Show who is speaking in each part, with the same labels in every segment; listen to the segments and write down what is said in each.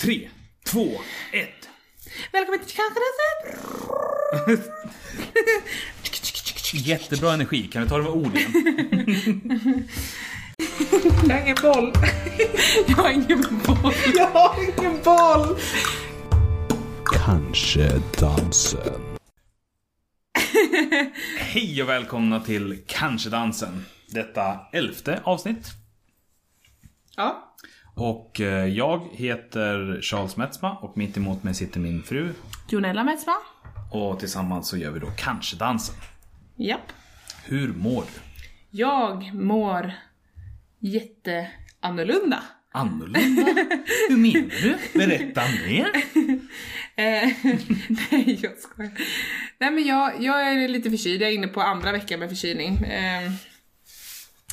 Speaker 1: Tre, två, ett.
Speaker 2: Välkommen till kanske det
Speaker 1: Jättebra energi. Kan vi ta det med ord igen?
Speaker 2: Jag har ingen boll. Jag har ingen boll. Jag har ingen boll.
Speaker 3: Kanske dansen.
Speaker 1: Hej och välkomna till Kanske dansen. Detta elfte avsnitt.
Speaker 2: Ja.
Speaker 1: Och eh, jag heter Charles Metzma och mitt emot mig sitter min fru.
Speaker 2: Jonella Metsma.
Speaker 1: Och tillsammans så gör vi då Kanske dansen.
Speaker 2: Japp.
Speaker 1: Hur mår du?
Speaker 2: Jag mår jätteannorlunda.
Speaker 1: Annorlunda? Hur menar du? Berätta mer.
Speaker 2: Eh, nej, jag skojar. Nej, men jag, jag är lite förkyld. Jag är inne på andra veckan med förkylning. Eh,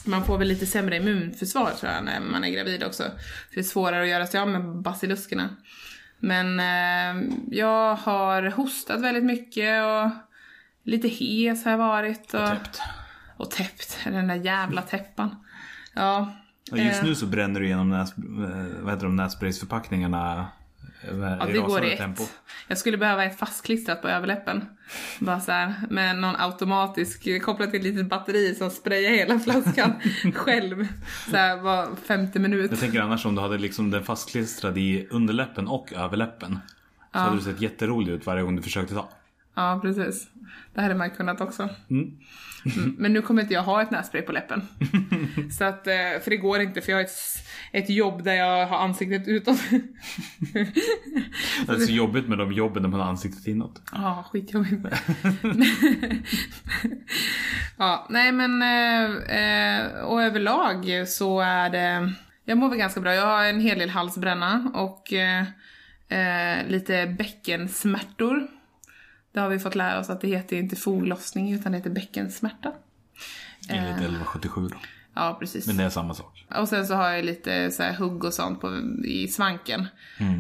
Speaker 2: man får väl lite sämre immunförsvar tror jag när man är gravid också. För det är svårare att göra sig av med basiluskerna. Men eh, jag har hostat väldigt mycket och lite hes har jag varit. Och,
Speaker 1: Täppt.
Speaker 2: och täppt. Den där jävla täppan. Ja.
Speaker 1: Och Just
Speaker 2: eh,
Speaker 1: nu så bränner du igenom näs, eh, vad heter de, nässprejsförpackningarna eh,
Speaker 2: Ja,
Speaker 1: i
Speaker 2: det går
Speaker 1: rasande
Speaker 2: i ett.
Speaker 1: tempo.
Speaker 2: Jag skulle behöva ett fastklistrat på överläppen. Bara så här, med någon automatisk, kopplat till ett litet batteri som sprayar hela flaskan själv. Så här, var 50
Speaker 1: Jag
Speaker 2: minut.
Speaker 1: tänker annars om du hade liksom den fastklistrad i underläppen och överläppen. Så hade du sett jätterolig ut varje gång du försökte ta.
Speaker 2: Ja, precis. Det hade man kunnat också.
Speaker 1: Mm.
Speaker 2: Mm, Men nu kommer inte jag ha ett nässpray på läppen. Så att, eh, för det går inte, för jag har ett, s- ett jobb där jag har ansiktet utåt.
Speaker 1: Det är så jobbigt med de jobben där man har ansiktet inåt.
Speaker 2: Ja, skitjobbigt. ja, nej men eh, eh, och överlag så är det, jag mår väl ganska bra. Jag har en hel del halsbränna och eh, eh, lite bäckensmärtor. Det har vi fått lära oss att det heter inte foglossning utan det heter bäckensmärta.
Speaker 1: Enligt
Speaker 2: Eh.
Speaker 1: 1177 då.
Speaker 2: Ja, precis.
Speaker 1: Men det är samma sak.
Speaker 2: Och sen så har jag lite så här hugg och sånt på, i svanken.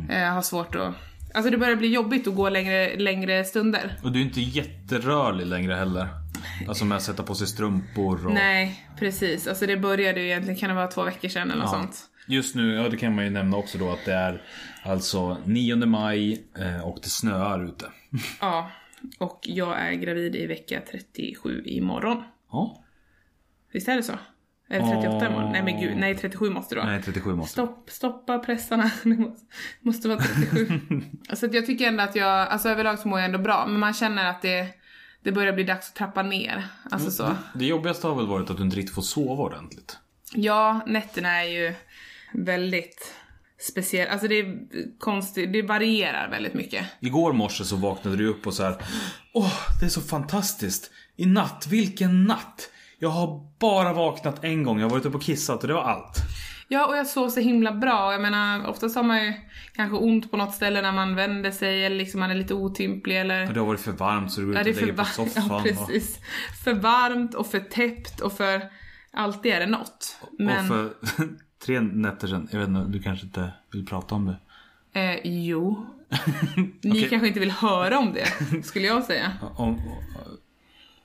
Speaker 2: Eh, har svårt att, alltså det börjar bli jobbigt att gå längre, längre stunder.
Speaker 1: Och du är inte jätterörlig längre heller. Alltså med att sätta på sig strumpor och...
Speaker 2: Nej, precis. Alltså det började ju egentligen, kan det vara två veckor sedan eller något sånt?
Speaker 1: Just nu, ja det kan man ju nämna också då att det är alltså 9 maj eh, och det snöar ute.
Speaker 2: Ja. Och jag är gravid i vecka 37 imorgon.
Speaker 1: Ja.
Speaker 2: Visst är det så? Eller 38 imorgon? Nej men gud, nej 37 måste det vara.
Speaker 1: Nej, 37 måste
Speaker 2: Stopp, stoppa pressarna. Det måste, måste vara 37. alltså jag tycker ändå att jag, alltså överlag så mår jag ändå bra. Men man känner att det, det börjar bli dags att trappa ner. Alltså så.
Speaker 1: Det jobbigaste har väl varit att du inte riktigt får sova ordentligt.
Speaker 2: Ja, nätterna är ju väldigt speciella. Alltså det är konstigt, det varierar väldigt mycket.
Speaker 1: Igår morse så vaknade du upp och så här. Åh, det är så fantastiskt! I natt, vilken natt! Jag har bara vaknat en gång, jag har varit uppe och kissat och det var allt.
Speaker 2: Ja, och jag sov så himla bra. Jag menar, oftast har man ju kanske ont på något ställe när man vänder sig eller liksom man är lite otymplig eller...
Speaker 1: Och det har varit för varmt så du går
Speaker 2: Ja,
Speaker 1: ut
Speaker 2: det är
Speaker 1: och
Speaker 2: för,
Speaker 1: lägger på
Speaker 2: var-
Speaker 1: soffan.
Speaker 2: ja, precis. för varmt och för täppt och för... Alltid är det något.
Speaker 1: och,
Speaker 2: Men,
Speaker 1: och för tre nätter sedan, jag vet inte, du kanske inte vill prata om det.
Speaker 2: eh, jo. Ni
Speaker 1: Okej.
Speaker 2: kanske inte vill höra om det, skulle jag säga.
Speaker 1: Om,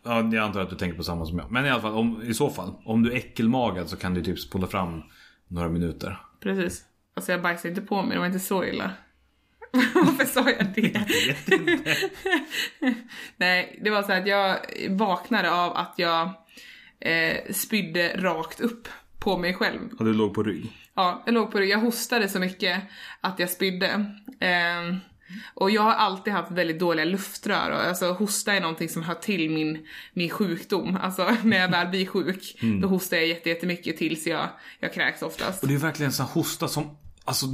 Speaker 1: ja, jag antar att du tänker på samma som jag. Men i alla fall, om, i så fall. Om du är äckelmagad så kan du typ spola fram några minuter.
Speaker 2: Precis. Alltså jag bajsade inte på mig, det var inte så illa. Varför sa jag det? Nej, det var så här att jag vaknade av att jag eh, spydde rakt upp på mig själv.
Speaker 1: Och du låg på rygg.
Speaker 2: Ja, jag låg på det. Jag hostade så mycket att jag spydde. Eh, och jag har alltid haft väldigt dåliga luftrör. Och, alltså hosta är någonting som hör till min, min sjukdom. Alltså när jag väl blir sjuk, då hostar jag jätte- jättemycket tills jag, jag kräks oftast.
Speaker 1: Och det är verkligen en sån här hosta som... Alltså,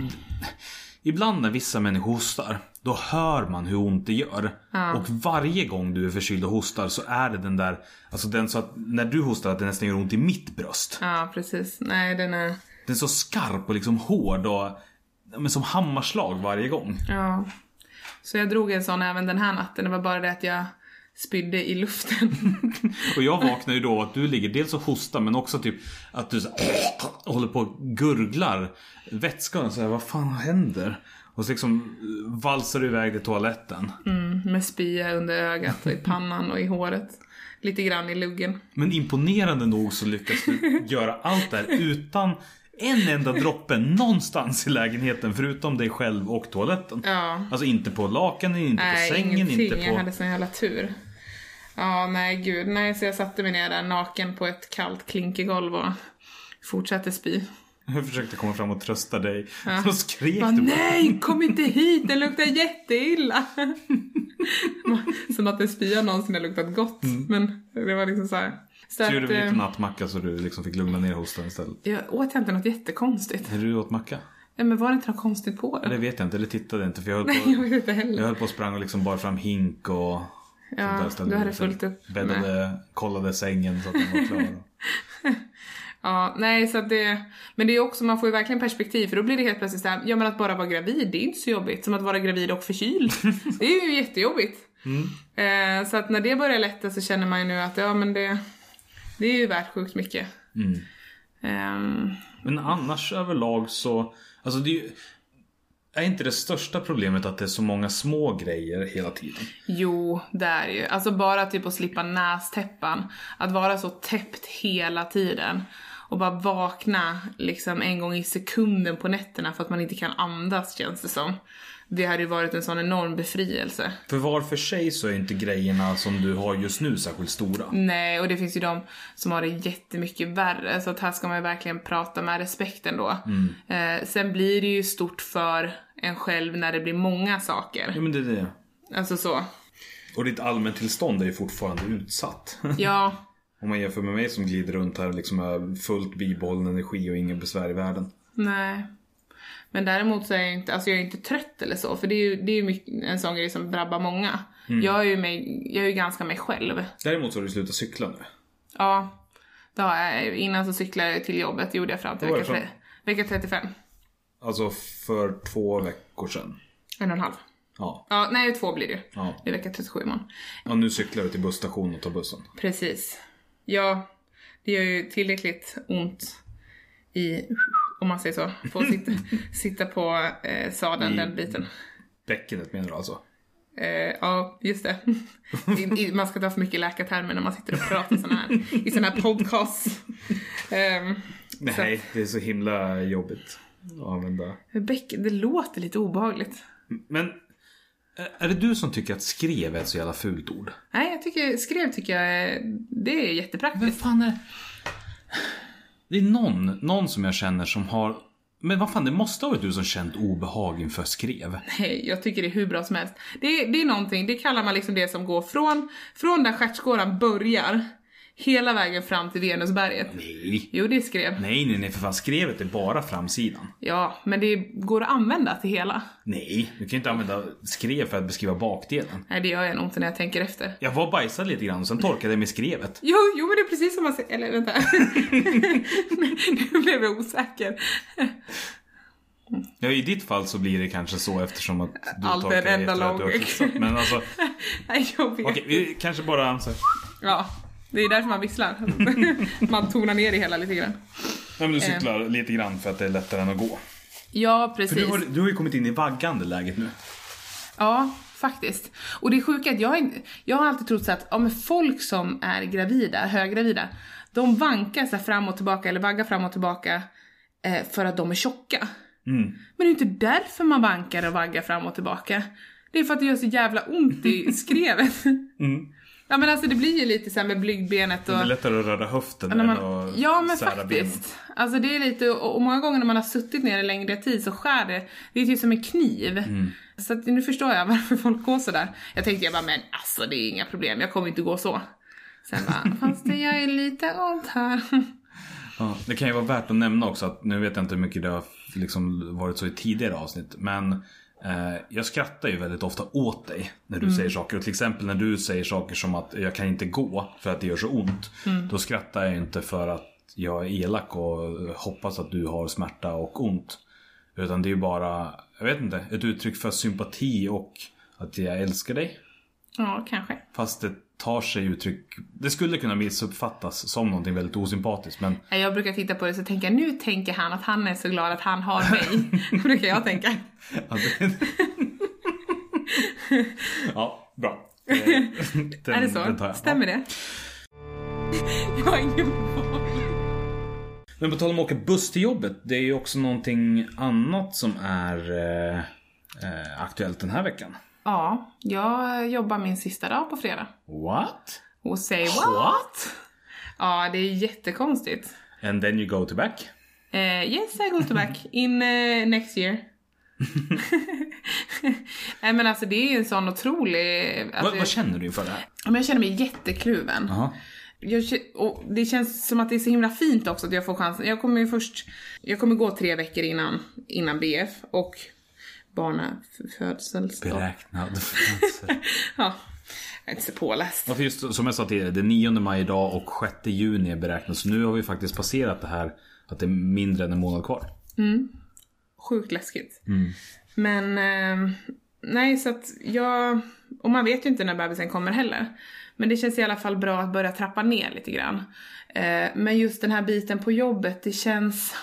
Speaker 1: ibland när vissa människor hostar, då hör man hur ont det gör. Och varje gång du är förkyld och hostar så är det den där... Alltså den så att när du hostar att det nästan gör ont i mitt bröst.
Speaker 2: Ja, precis. Nej, den är...
Speaker 1: Den är så skarp och liksom hård och... ja, Men som hammarslag varje gång.
Speaker 2: Ja. Så jag drog en sån även den här natten. Det var bara det att jag spydde i luften.
Speaker 1: Och jag vaknar ju då att du ligger dels och hostar men också typ att du så här, håller på och gurglar vätskan. Så här, vad fan händer? Och så liksom eh, valsar du iväg till toaletten.
Speaker 2: Med spya under ögat och i pannan och i håret. Lite grann i luggen.
Speaker 1: Men imponerande nog så lyckas du göra allt det här utan en enda droppe någonstans i lägenheten förutom dig själv och toaletten.
Speaker 2: Ja.
Speaker 1: Alltså inte på lakanen, inte
Speaker 2: Nej,
Speaker 1: på sängen,
Speaker 2: ingenting.
Speaker 1: inte
Speaker 2: Jag
Speaker 1: på...
Speaker 2: hade sån jävla tur. Ja, nej gud. Nej, så jag satte mig ner där naken på ett kallt klinkergolv och fortsatte spy.
Speaker 1: Jag försökte komma fram och trösta dig. Så skrek
Speaker 2: Bara,
Speaker 1: du bara.
Speaker 2: Ah, nej, kom inte hit, det luktar jätteilla. Som att en spya någonsin har luktat gott. Men det var liksom så här. Så
Speaker 1: Mm. Så gjorde
Speaker 2: att,
Speaker 1: vi lite
Speaker 2: eh,
Speaker 1: nattmacka så du liksom fick lugna ner hostan istället.
Speaker 2: jag åt jag inte något jättekonstigt.
Speaker 1: När du åt macka?
Speaker 2: Nej, men var det inte något konstigt på
Speaker 1: Det
Speaker 2: den?
Speaker 1: vet jag inte, eller tittade inte för jag höll
Speaker 2: Nej, jag
Speaker 1: på,
Speaker 2: vet inte
Speaker 1: jag
Speaker 2: heller.
Speaker 1: höll på och sprang och liksom bar fram hink och
Speaker 2: Ja,
Speaker 1: ställde
Speaker 2: du
Speaker 1: mig
Speaker 2: hade
Speaker 1: liksom,
Speaker 2: fullt upp. med-
Speaker 1: Bäddade, kollade sängen så att den var klar.
Speaker 2: Ja, nej så att det, men det är också, man får ju verkligen perspektiv för då blir det helt plötsligt såhär, ja men att bara vara gravid det är inte så jobbigt som att vara gravid och förkyld. det är ju jättejobbigt. Eh, så att när det börjar lätta så känner man ju nu att ja men det, det är ju värt sjukt mycket.
Speaker 1: Mm.
Speaker 2: Ehm,
Speaker 1: Men annars överlag så... Alltså det är, ju, är inte det största problemet att det är så många små grejer hela tiden?
Speaker 2: jo, det är ju. Alltså bara typ att slippa nästäppan, att vara så täppt hela tiden och bara vakna liksom en gång i sekunden på nätterna för att man inte kan andas känns det som. Det hade ju varit en sån enorm befrielse.
Speaker 1: För var för sig så är inte grejerna som du har just nu särskilt stora.
Speaker 2: Nej, och det finns ju de som har det jättemycket värre så att här ska man ju verkligen prata med respekten då. Eh, sen blir det ju stort för en själv när det blir många saker.
Speaker 1: Ja men det är det.
Speaker 2: Alltså så.
Speaker 1: Och ditt allmäntillstånd är ju fortfarande utsatt.
Speaker 2: Ja,
Speaker 1: Om man jämför med mig som glider runt här liksom med fullt bibehållen energi och ingen besvär i världen.
Speaker 2: nej. Men däremot så är jag inte, alltså jag är inte trött eller så för det är ju, det är ju mycket, en sån grej som drabbar många.
Speaker 1: Mm.
Speaker 2: Jag, är ju mig, jag är ju ganska mig själv.
Speaker 1: Däremot så har du slutat cykla nu.
Speaker 2: Ja, det har jag. Innan så cyklade jag till jobbet, det gjorde jag fram till
Speaker 1: Vad var
Speaker 2: vecka,
Speaker 1: det
Speaker 2: tre, vecka 35.
Speaker 1: Alltså för två veckor sedan.
Speaker 2: En och en halv.
Speaker 1: Ja.
Speaker 2: Ja, nej två blir det ju.
Speaker 1: Ja.
Speaker 2: Det är vecka 37 imorgon.
Speaker 1: ja nu cyklar du till busstationen och tar bussen.
Speaker 2: Precis. Ja, det gör ju tillräckligt ont i, om man säger så, på att sitta, sitta på eh, sadeln,
Speaker 1: I-
Speaker 2: den biten.
Speaker 1: Bäckenet menar du alltså?
Speaker 2: Eh, ja, just det. I, i, man ska ta för mycket läkartermer när man sitter och pratar såna här, i såna här podcasts. Ehm,
Speaker 1: Nej, det är så himla jobbigt att använda.
Speaker 2: Beck, det låter lite obehagligt.
Speaker 1: Men är- är det du som tycker att skrev är ett så jävla fult ord?
Speaker 2: Nej, jag tycker, skrev tycker jag är- det är
Speaker 1: Vem
Speaker 2: jättepraktiskt.
Speaker 1: fan är det? Det är någon, någon som jag känner som har... Men vad fan, det måste ha varit du som känt obehag inför skrev.
Speaker 2: Nej, jag tycker det är hur bra som helst. Det, är- det är någonting, det kallar man liksom det som går från, från där stjärtskåran börjar hela vägen fram till Venusberget.
Speaker 1: Nej.
Speaker 2: Jo, det skrev.
Speaker 1: Nej, nej, nej, för fan skrevet är bara framsidan.
Speaker 2: Ja, men det går att använda till hela.
Speaker 1: Nej, du kan ju inte använda skrev för att beskriva bakdelen.
Speaker 2: Nej, det gör jag nog inte när jag tänker efter.
Speaker 1: Jag var bajsad lite grann och sen torkade jag med skrevet.
Speaker 2: Jo, jo men det är precis som man säger, eller vänta. nu blev jag osäker.
Speaker 1: Ja, i ditt fall så blir det kanske så eftersom att du
Speaker 2: Allt är
Speaker 1: torkar
Speaker 2: en
Speaker 1: efter
Speaker 2: enda
Speaker 1: att du har
Speaker 2: lång-
Speaker 1: kissat. Men alltså,
Speaker 2: Nej, jag vet.
Speaker 1: okej, vi kanske bara... Så här,
Speaker 2: Ja, det är därför man visslar. man tonar ner det hela lite grann.
Speaker 1: nej, men
Speaker 2: Eh.
Speaker 1: du cyklar lite grann för att det är lättare än att gå.
Speaker 2: Ja,
Speaker 1: För du
Speaker 2: precis.
Speaker 1: har, du har ju kommit in i vaggande läget nu.
Speaker 2: Ja, faktiskt. Och det är sjuka är att jag, har in- jag har alltid trott så att ja, men folk som är gravida, höggravida, de vankar så här fram och tillbaka eller vaggar fram och tillbaka eh, för att de är tjocka. Men det är ju inte därför man vankar och vaggar fram och tillbaka. Det är för att det gör så jävla ont i skrevet. Ja men alltså det blir ju lite så här med blygdbenet och...
Speaker 1: Det är lättare att röra höften
Speaker 2: När
Speaker 1: än
Speaker 2: man,
Speaker 1: att
Speaker 2: ja men
Speaker 1: sära benen.
Speaker 2: faktiskt. Alltså det är lite, och och många gånger när man har suttit ner en längre tid så skär det, det är typ som en kniv.
Speaker 1: Mm.
Speaker 2: Så att nu förstår jag varför folk går sådär. Jag tänkte jag bara, men alltså det är inga problem, jag kommer inte gå så. Sen bara, fast det gör ju lite ont här.
Speaker 1: Ja, det kan ju vara värt att nämna också att nu vet jag inte hur mycket det har liksom varit så i tidigare avsnitt. Men eh, jag skrattar ju väldigt ofta åt dig när du säger saker. Och till exempel när du säger saker som att jag kan inte gå för att det gör så ont. Då skrattar jag inte för att jag är elak och hoppas att du har smärta och ont. Utan det är ju bara, jag vet inte, ett uttryck för sympati och att jag älskar dig.
Speaker 2: Ja, kanske.
Speaker 1: Fast det tar sig uttryck, det skulle kunna missuppfattas som någonting väldigt osympatiskt men
Speaker 2: Nej, Jag brukar titta på det och tänka, nu tänker han att han är så glad att han har mig. brukar jag tänka.
Speaker 1: Alltså- ja, bra. Eh, Den,
Speaker 2: är det
Speaker 1: den tar
Speaker 2: så?
Speaker 1: jag.
Speaker 2: Stämmer det? jag har ingen aning.
Speaker 1: Ja. Men på tal om att åka buss till jobbet. Det är ju också någonting annat som är eh, eh, aktuellt den här veckan.
Speaker 2: Ja, jag jobbar min sista dag på fredag.
Speaker 1: What?
Speaker 2: Och say what? Ja, det är jättekonstigt.
Speaker 1: And then you go to back.
Speaker 2: Eh, yes, I go to back in eh, next year. Nej men alltså det är en sån otrolig... Alltså,
Speaker 1: vad, vad känner du inför det här?
Speaker 2: men jag känner mig jättekluven.
Speaker 1: Jaha.
Speaker 2: Jag, kä- och det känns som att det är så himla fint också att jag får chansen. Jag kommer ju först, jag kommer gå tre veckor innan, innan BF och barnafödselsdag.
Speaker 1: Beräknad födsel.
Speaker 2: Ja, jag är inte så påläst.
Speaker 1: Varför just som jag sa tidigare, det är 9 maj idag och 6 juni är beräknat. Så nu har vi faktiskt passerat det här att det är mindre än en månad kvar.
Speaker 2: Sjukt läskigt.
Speaker 1: Mm.
Speaker 2: Men eh, nej så att jag, och man vet ju inte när bebisen kommer heller. Men det känns i alla fall bra att börja trappa ner lite grann. Eh, men just den här biten på jobbet, det känns...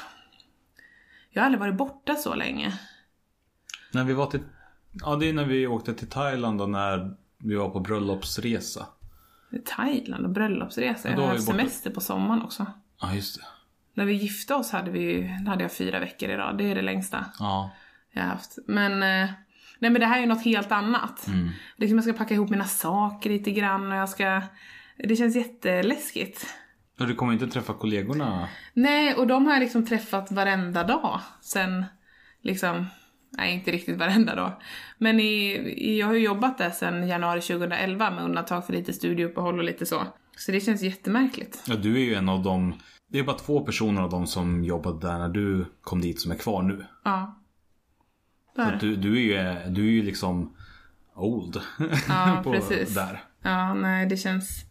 Speaker 2: Jag har aldrig varit borta så länge.
Speaker 1: När vi var till... Ja, det är när vi åkte till Thailand och när vi var på bröllopsresa.
Speaker 2: Thailand och bröllopsresa. Jag
Speaker 1: då
Speaker 2: har
Speaker 1: var
Speaker 2: haft
Speaker 1: vi borta.
Speaker 2: semester på sommaren också.
Speaker 1: Ja, just det.
Speaker 2: När vi gifte oss hade, vi, hade jag fyra veckor i rad. Det är det längsta
Speaker 1: Ja.
Speaker 2: jag har haft. Men, eh, nej, men det här är ju något helt annat.
Speaker 1: Mm.
Speaker 2: Liksom jag ska packa ihop mina saker lite grann och jag ska... Det känns jätteläskigt.
Speaker 1: Men du kommer inte träffa kollegorna?
Speaker 2: Nej, och de har jag liksom träffat varenda dag sen liksom... Nej, inte riktigt varenda dag. Men i, i, jag har ju jobbat där sen januari 2011 med undantag för lite studieuppehåll och lite så. Så det känns jättemärkligt.
Speaker 1: Ja, du är ju en av dem. Det är bara två personer av dem som jobbade där när du kom dit som är kvar nu.
Speaker 2: Ja. Det är
Speaker 1: Så att
Speaker 2: det.
Speaker 1: du, du, är ju, du är ju liksom old.
Speaker 2: Ja, precis.
Speaker 1: Där.
Speaker 2: Ja, nej det känns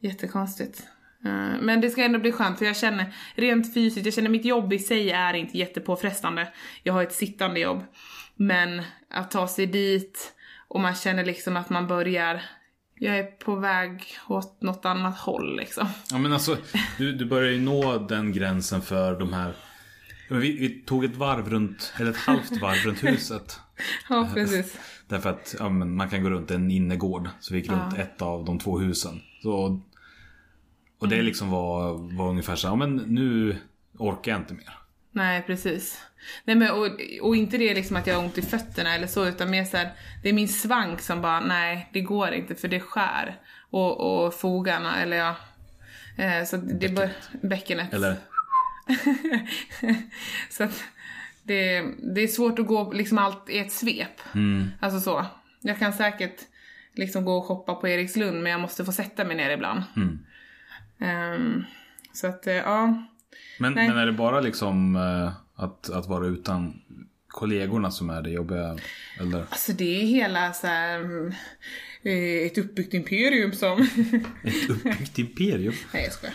Speaker 2: jättekonstigt. Eh, Men det ska ändå bli skönt för jag känner rent fysiskt, jag känner mitt jobb i sig är inte jättepåfrestande. Jag har ett sittande jobb. Men att ta sig dit och man känner liksom att man börjar, jag är på väg åt något annat håll liksom.
Speaker 1: Ja men alltså, du, du börjar ju nå den gränsen för de här Men vi, vi tog ett varv runt, eller ett halvt varv runt huset.
Speaker 2: Ja precis.
Speaker 1: Därför att ja, men man kan gå runt en innergård. Så vi gick runt ett av de två husen. Så, och det liksom var, var ungefär så här, ja, men nu orkar jag inte mer.
Speaker 2: Nej precis. Nej, men, och, och inte det liksom att jag har ont i fötterna eller så utan mer såhär, det är min svank som bara nej det går inte för det skär. Och, och fogarna eller ja. Eh, så att det bör, bäckenet.
Speaker 1: Eller
Speaker 2: så att det, det är svårt att gå liksom allt i ett svep. Alltså så. Jag kan säkert liksom gå och shoppa på Erikslund men jag måste få sätta mig ner ibland. Ehm, så att eh, ja.
Speaker 1: Men, men är det bara liksom eh, att, att vara utan kollegorna som är det jobbiga? Eller?
Speaker 2: Alltså det är hela så här, mm, eh, ett uppbyggt imperium som...
Speaker 1: Ett uppbyggt imperium?
Speaker 2: Nej jag skojar.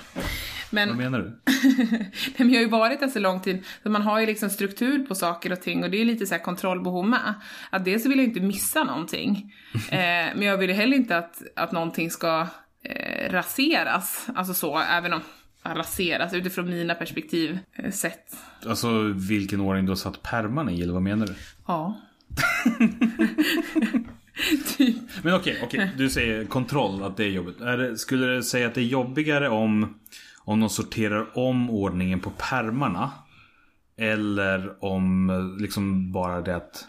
Speaker 2: Men,
Speaker 1: Vad
Speaker 2: nej,
Speaker 1: menar du?
Speaker 2: men jag har ju varit där så lång tid, så man har ju liksom struktur på saker och ting och det är lite så här kontrollbehov med. Att dels så vill jag inte missa någonting, eh, men jag vill heller inte att, att någonting ska eh, raseras. Alltså så, även om ja, raseras utifrån mina perspektiv eh, sett.
Speaker 1: Alltså vilken ordning du har satt pärmarna i eller vad menar du?
Speaker 2: Ja. typ.
Speaker 1: Men okej, okej. du säger kontroll, att det är jobbigt. Är det, skulle du säga att det är jobbigare om, om de sorterar om ordningen på pärmarna? Eller om eh, liksom bara det att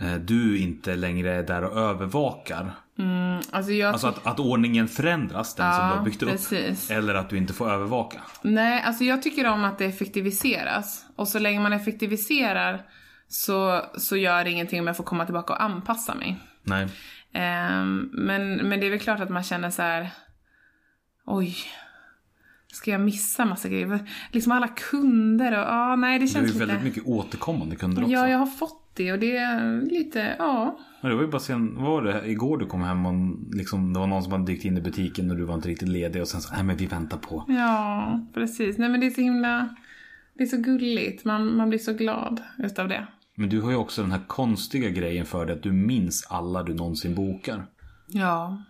Speaker 1: eh, du inte längre är där och övervakar?
Speaker 2: Alltså jag
Speaker 1: Alltså att, att ordningen förändras, den som du har byggt upp.
Speaker 2: precis.
Speaker 1: Eller att du inte får övervaka.
Speaker 2: Nej, alltså jag tycker om att det effektiviseras. Och så länge man effektiviserar så, så gör det ingenting om jag får komma tillbaka och anpassa mig.
Speaker 1: Nej.
Speaker 2: Ehm, men, men det är väl klart att man känner så här. oj, ska jag missa massa grejer? Liksom alla kunder och ja, nej det
Speaker 1: Du har
Speaker 2: känns
Speaker 1: ju väldigt
Speaker 2: lite...
Speaker 1: mycket återkommande kunder också.
Speaker 2: Ja, jag har fått det och det är lite, ja.
Speaker 1: Men Det var ju bara sen, vad var det, igår du kom hem och liksom, det var någon som hade dykt in i butiken och du var inte riktigt ledig och sen så, nej men vi väntar på.
Speaker 2: Ja, precis. Nej men det är så himla, det är så gulligt. Man, man blir så glad utav det.
Speaker 1: Men du har ju också den här konstiga grejen för dig att du minns alla du någonsin bokar.
Speaker 2: Ja,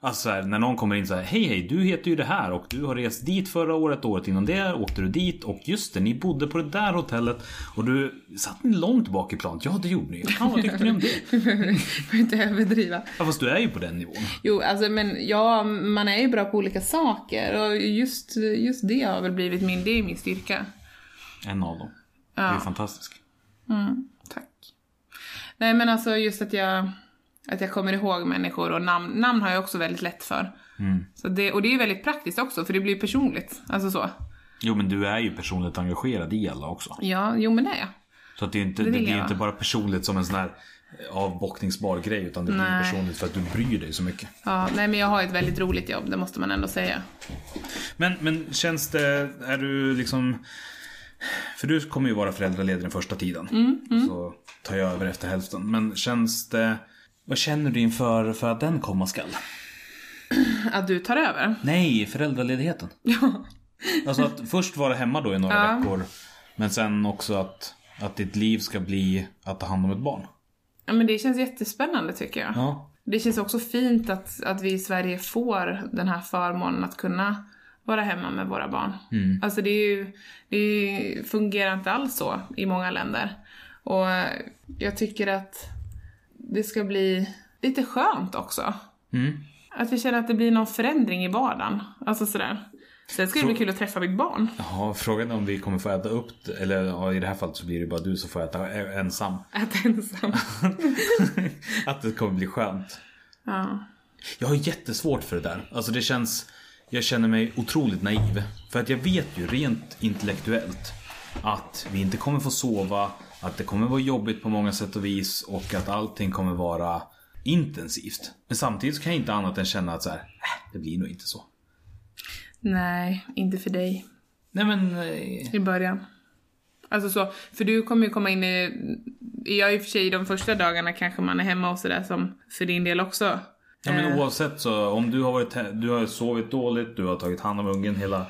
Speaker 1: Alltså så här, när någon kommer in så här, hej hej du heter ju det här och du har rest dit förra året, året innan det åkte du dit och just det, ni bodde på det där hotellet och du satt ni långt bak i planet. Ja det gjorde ni. Fan vad tyckte ni om det?
Speaker 2: Får inte överdriva.
Speaker 1: Ja, fast du är ju på den nivån.
Speaker 2: Jo, alltså men ja, man är ju bra på olika saker och just, just det har väl blivit min, det är min styrka.
Speaker 1: En av dem. Du är fantastisk.
Speaker 2: Tack. Nej men alltså just att jag, att jag kommer ihåg människor och namn, namn har jag också väldigt lätt för. Så det, och det är väldigt praktiskt också för det blir personligt. Alltså så.
Speaker 1: Jo men du är ju personligt engagerad i alla också.
Speaker 2: Ja, jo men det är jag.
Speaker 1: Så att det är ju inte, det
Speaker 2: Det vill
Speaker 1: är
Speaker 2: jag.
Speaker 1: inte bara personligt som en sån här avbockningsbar grej utan det blir
Speaker 2: Nej.
Speaker 1: personligt för att du bryr dig så mycket.
Speaker 2: Ja, nej men jag har ett väldigt roligt jobb, det måste man ändå säga.
Speaker 1: Men, men känns det, är du liksom... För du kommer ju vara föräldraledig den första tiden. Så tar jag över efter hälften. Men känns det... Vad känner du inför för att den komma skall?
Speaker 2: Att du tar över.
Speaker 1: Nej, föräldraledigheten.
Speaker 2: Ja.
Speaker 1: Alltså att först vara hemma då i några veckor. Men sen också att, att ditt liv ska bli att ta hand om ett barn.
Speaker 2: Ja, men det känns jättespännande tycker jag.
Speaker 1: Ja.
Speaker 2: Det känns också fint att, att vi i Sverige får den här förmånen att kunna vara hemma med våra barn.
Speaker 1: Mm.
Speaker 2: Alltså det, är ju, det är ju- fungerar inte alls så i många länder. Och jag tycker att det ska bli lite skönt också.
Speaker 1: Mm.
Speaker 2: Att vi känner att det blir någon förändring i vardagen. Alltså sådär. Sen ska det bli kul att träffa mitt barn.
Speaker 1: Ja, frågan är om vi kommer få äta upp det, eller ja, i det här fallet så blir det bara du som får äta ä- ensam.
Speaker 2: Äta ensam.
Speaker 1: Att det kommer bli skönt.
Speaker 2: Ja.
Speaker 1: Jag har jättesvårt för det där. Alltså det känns... Jag känner mig otroligt naiv. För att jag vet ju rent intellektuellt att vi inte kommer få sova, att det kommer vara jobbigt på många sätt och vis och att allting kommer vara intensivt. Men samtidigt så kan jag inte annat än känna att så här, äh, det blir nog inte så.
Speaker 2: Nej, inte för dig.
Speaker 1: Nej men... eh,
Speaker 2: I början. Alltså så, för du kommer ju komma in i... Ja, i och för sig de första dagarna kanske man är hemma och sådär som för din del också.
Speaker 1: Ja, men oavsett så om du har, varit, he- du har sovit dåligt, du har tagit hand om ungen hela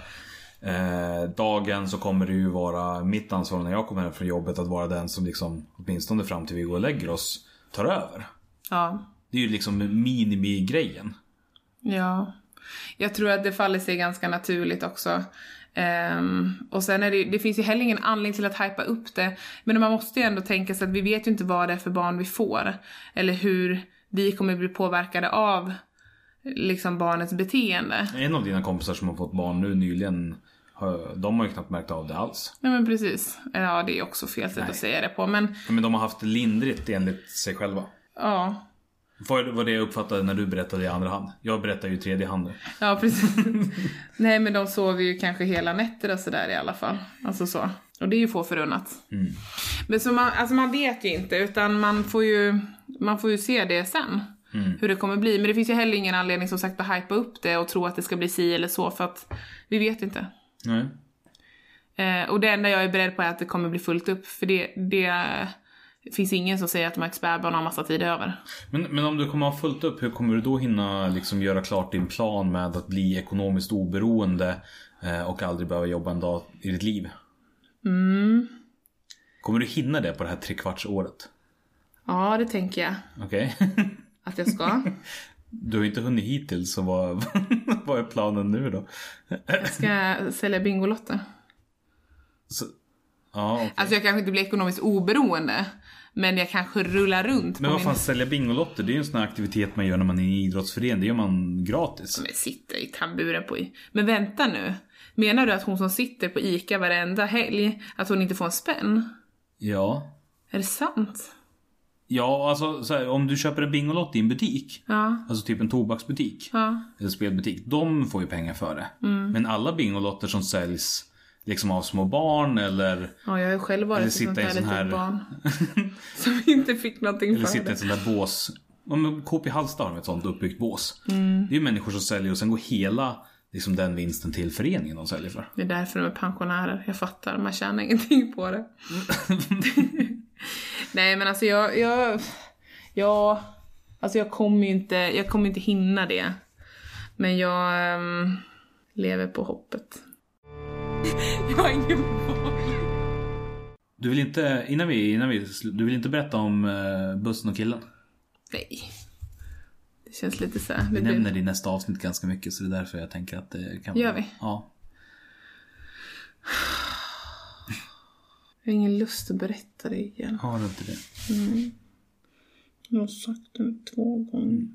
Speaker 1: eh, dagen så kommer det ju vara mitt ansvar när jag kommer hem från jobbet att vara den som liksom åtminstone fram till vi går och lägger oss tar över.
Speaker 2: Ja.
Speaker 1: Det är ju liksom minimigrejen.
Speaker 2: Ja. Jag tror att det faller sig ganska naturligt också. Ehm, och sen är det ju, det finns ju heller ingen anledning till att hypa upp det. Men man måste ju ändå tänka sig att vi vet ju inte vad det är för barn vi får. Eller hur vi kommer bli påverkade av liksom barnets beteende.
Speaker 1: En av dina kompisar som har fått barn nu nyligen, har- de har ju knappt märkt av det alls.
Speaker 2: Nej men precis. Ja, det är ju också fel sätt att säga det på. Men
Speaker 1: Men de har haft det lindrigt enligt sig själva.
Speaker 2: ja,
Speaker 1: Vad var det jag uppfattade när du berättade i andra hand. Jag berättar ju i tredje hand nu.
Speaker 2: Ja, precis. Nej, men de sover ju kanske hela nätter och sådär i alla fall. Alltså så. Och det är ju få förunnat. Men så man, alltså man vet ju inte, utan man får ju, man får ju se det sen. Hur det kommer bli. Men det finns ju heller ingen anledning som sagt att hypa upp det och tro att det ska bli si eller så, för att vi vet inte.
Speaker 1: Nej.
Speaker 2: Eh, och det enda jag är beredd på är att det kommer bli fullt upp, för det, det finns ingen som säger att Max Bärbarn har massa tid över.
Speaker 1: Men, men om du kommer ha fullt upp, hur kommer du då hinna liksom göra klart din plan med att bli ekonomiskt oberoende eh, och aldrig behöva jobba en dag i ditt liv? Kommer du hinna det på det här trekvartsåret?
Speaker 2: Ja, det tänker jag
Speaker 1: Okej?
Speaker 2: att jag ska.
Speaker 1: Du har ju inte hunnit hittills, så vad, vad är planen nu då?
Speaker 2: Jag ska sälja Bingolotter.
Speaker 1: Så, ja, okej.
Speaker 2: Alltså jag kanske inte blir ekonomiskt oberoende, men jag kanske rullar runt
Speaker 1: Men
Speaker 2: på
Speaker 1: vad
Speaker 2: min...
Speaker 1: fan, sälja Bingolotter, det är ju en sån här aktivitet man gör när man är i en idrottsförening. Det gör man gratis.
Speaker 2: Men sitter i tamburen på... i- Men vänta nu. Menar du att hon som sitter på ICA varenda helg, att hon inte får en spänn?
Speaker 1: Ja.
Speaker 2: Är det sant?
Speaker 1: Ja, alltså så här, om du köper en Bingolott i en butik,
Speaker 2: Ja.
Speaker 1: alltså typ en tobaksbutik,
Speaker 2: Ja.
Speaker 1: eller spelbutik, de får ju pengar för det.
Speaker 2: Mm.
Speaker 1: Men alla bingolotter som säljs liksom av små barn eller,
Speaker 2: Ja, jag har ju själv
Speaker 1: Eller
Speaker 2: varit ett
Speaker 1: sitta
Speaker 2: sånt
Speaker 1: i
Speaker 2: där
Speaker 1: sån
Speaker 2: litet
Speaker 1: här-
Speaker 2: barn som inte fick någonting
Speaker 1: eller
Speaker 2: för
Speaker 1: sitter i
Speaker 2: det.
Speaker 1: ett sånt där bås. Ja, men KP Halsta har ett sånt uppbyggt bås.
Speaker 2: Mm.
Speaker 1: Det är ju människor som säljer och sen går hela liksom, den vinsten till föreningen de säljer för.
Speaker 2: Det är därför de är pensionärer, jag fattar. Man tjänar ingenting på det. Nej men alltså jag, jag, jag, alltså jag kommer ju inte, jag kommer inte hinna det. Men jag ehm, lever på hoppet. jag har ingen
Speaker 1: Du vill inte, innan vi, innan vi, sl- du vill inte berätta om eh, bussen och killen?
Speaker 2: Nej. Det Det känns lite så här.
Speaker 1: Vi
Speaker 2: lite-
Speaker 1: nämner det i nästa avsnitt ganska mycket så det är därför jag tänker att det kan
Speaker 2: Gör vi?
Speaker 1: Ja.
Speaker 2: Jag har ingen lust att berätta det igen.
Speaker 1: Har du inte det?
Speaker 2: Jag har sagt det två gånger.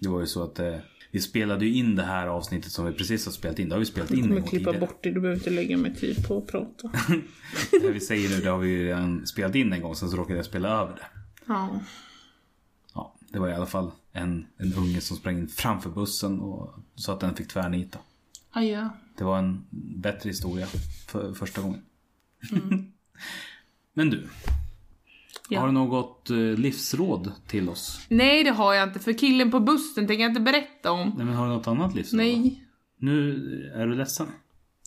Speaker 1: Det var ju så att eh, vi spelade ju in det här avsnittet som vi precis har spelat in. Det har vi spelat in
Speaker 2: Jag
Speaker 1: en
Speaker 2: kommer
Speaker 1: gång
Speaker 2: klippa
Speaker 1: tidigare.
Speaker 2: bort det, du behöver inte lägga mig tid på att prata.
Speaker 1: Det vi säger nu det har vi ju redan spelat in en gång sen så råkade jag spela över det.
Speaker 2: ja.
Speaker 1: Ja, det var i alla fall en, en unge som sprang in framför bussen och, så att den fick tvärnita.
Speaker 2: Ah, ja.
Speaker 1: Det var en bättre historia för första gången. Men du.
Speaker 2: Ja.
Speaker 1: Har du något eh, livsråd till oss?
Speaker 2: Nej det har jag inte, för killen på bussen tänker jag inte berätta om.
Speaker 1: Nej, men har du något annat livsråd?
Speaker 2: Nej,
Speaker 1: Nu är du ledsen.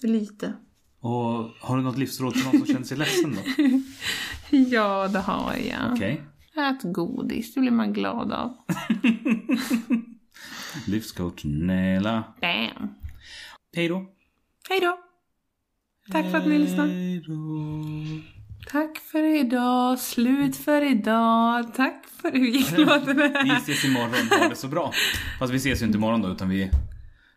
Speaker 2: lite.
Speaker 1: Och har du något livsråd till någon som känner sig ledsen då? Okej.
Speaker 2: Ja det har jag. Ät godis, det blir man glad av.
Speaker 1: Livscoach Nela.
Speaker 2: Bam!
Speaker 1: Hej då.
Speaker 2: Hej då! Tack för att ni lyssnade.
Speaker 1: Hej då.
Speaker 2: Tack för idag, slut för idag. Tack för... Hur gick låten?
Speaker 1: Vi ses imorgon, ha det så bra. Fast vi ses ju inte imorgon då utan vi...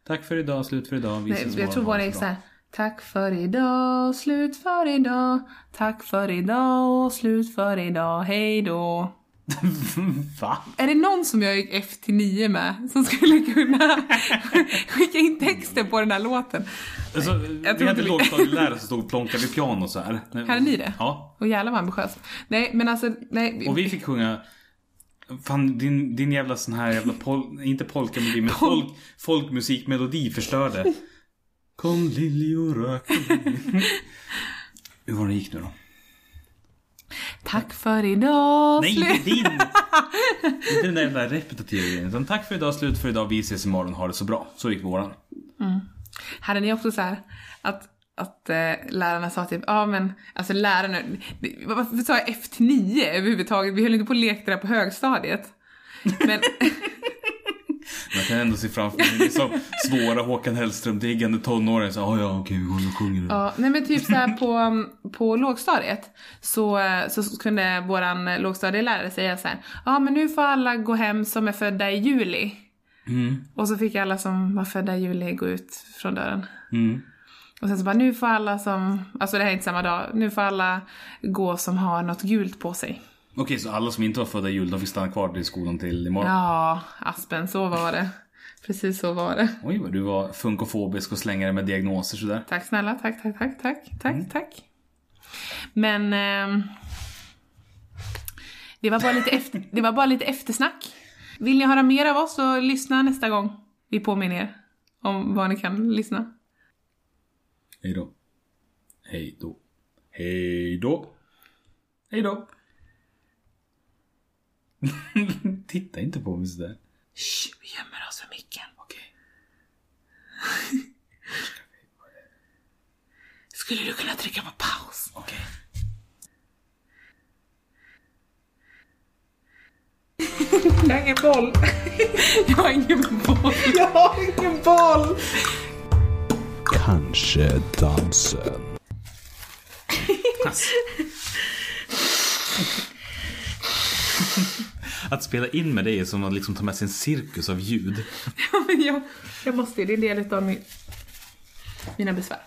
Speaker 1: Tack för idag, slut för idag, vi ses
Speaker 2: Nej,
Speaker 1: imorgon.
Speaker 2: jag tror
Speaker 1: ha
Speaker 2: bara det
Speaker 1: det
Speaker 2: är
Speaker 1: så
Speaker 2: så här. Tack för idag, slut för idag. Tack för idag och slut för idag. Hej då.
Speaker 1: bra. Va?
Speaker 2: Är det någon som jag gick F till 9 med som skulle kunna skicka in texten på den här låten?
Speaker 1: Alltså, vi
Speaker 2: tror
Speaker 1: hade
Speaker 2: inte-
Speaker 1: lågstadielärare som stod och plonkade vid piano så här. Nej,
Speaker 2: Hade ni det?
Speaker 1: Ja.
Speaker 2: Och jävlar vad ambitiöst. Nej men alltså, nej.
Speaker 1: Och vi fick sjunga... Fan, din, din jävla sån här jävla pol... Inte polkamelodi, men
Speaker 2: Pol-
Speaker 1: folk, folkmusikmelodi förstörde. Kom liljor rök Hur var det gick nu då?
Speaker 2: Tack för idag,
Speaker 1: Nej,
Speaker 2: slut.
Speaker 1: inte din! inte den där jävla repetitiva grejen. Utan tack för idag, slut för idag, vi ses imorgon, ha det så bra. Så gick våran.
Speaker 2: Hade ni också så här att, att eh, lärarna sa typ, ja ah, men alltså lärarna, varför sa jag F till 9 överhuvudtaget? Vi höll inte på och lekte där på högstadiet. Men
Speaker 1: Men jag kan ändå se framför mig liksom svåra Håkan Hellström-diggande tonåringar. Så, "Ah, ja, okej, vi går och sjunger nu.
Speaker 2: ja, nej men typ så här på, på lågstadiet så, eh, så kunde våran eh, lågstadielärare säga så här, ja ah, men nu får alla gå hem som är födda i juli. Och så fick alla som var födda i juli gå ut från dörren.
Speaker 1: Mm.
Speaker 2: Och sen så bara, nu får alla som, alltså det här är inte samma dag, nu får alla gå som har något gult på sig.
Speaker 1: Okej, så alla som inte var födda i jul, de fick stanna kvar i skolan till imorgon.
Speaker 2: Ja, Aspen, så var det. Precis så var det.
Speaker 1: Oj, vad du var funkofobisk och slängde dig med diagnoser sådär.
Speaker 2: Tack snälla, tack, tack, tack, tack, tack, tack. Men ehm, det, var bara lite efter, det var bara lite eftersnack. Vill ni höra mer av oss så lyssna nästa gång. Vi påminner er om vad ni kan lyssna.
Speaker 1: Hej då. Hej då. Hej då. Hej då. Titta inte på mig sådär.
Speaker 2: Shh, vi gömmer oss för micken.
Speaker 1: Okej.
Speaker 2: Skulle du kunna trycka på paus?
Speaker 1: Okej.
Speaker 2: Jag har ingen boll. Jag har ingen boll.
Speaker 4: Kanske dansen.
Speaker 5: Att spela in med dig är som att liksom ta med sig en cirkus av ljud.
Speaker 2: Men jag, jag måste ju, det är en del av min, mina besvär.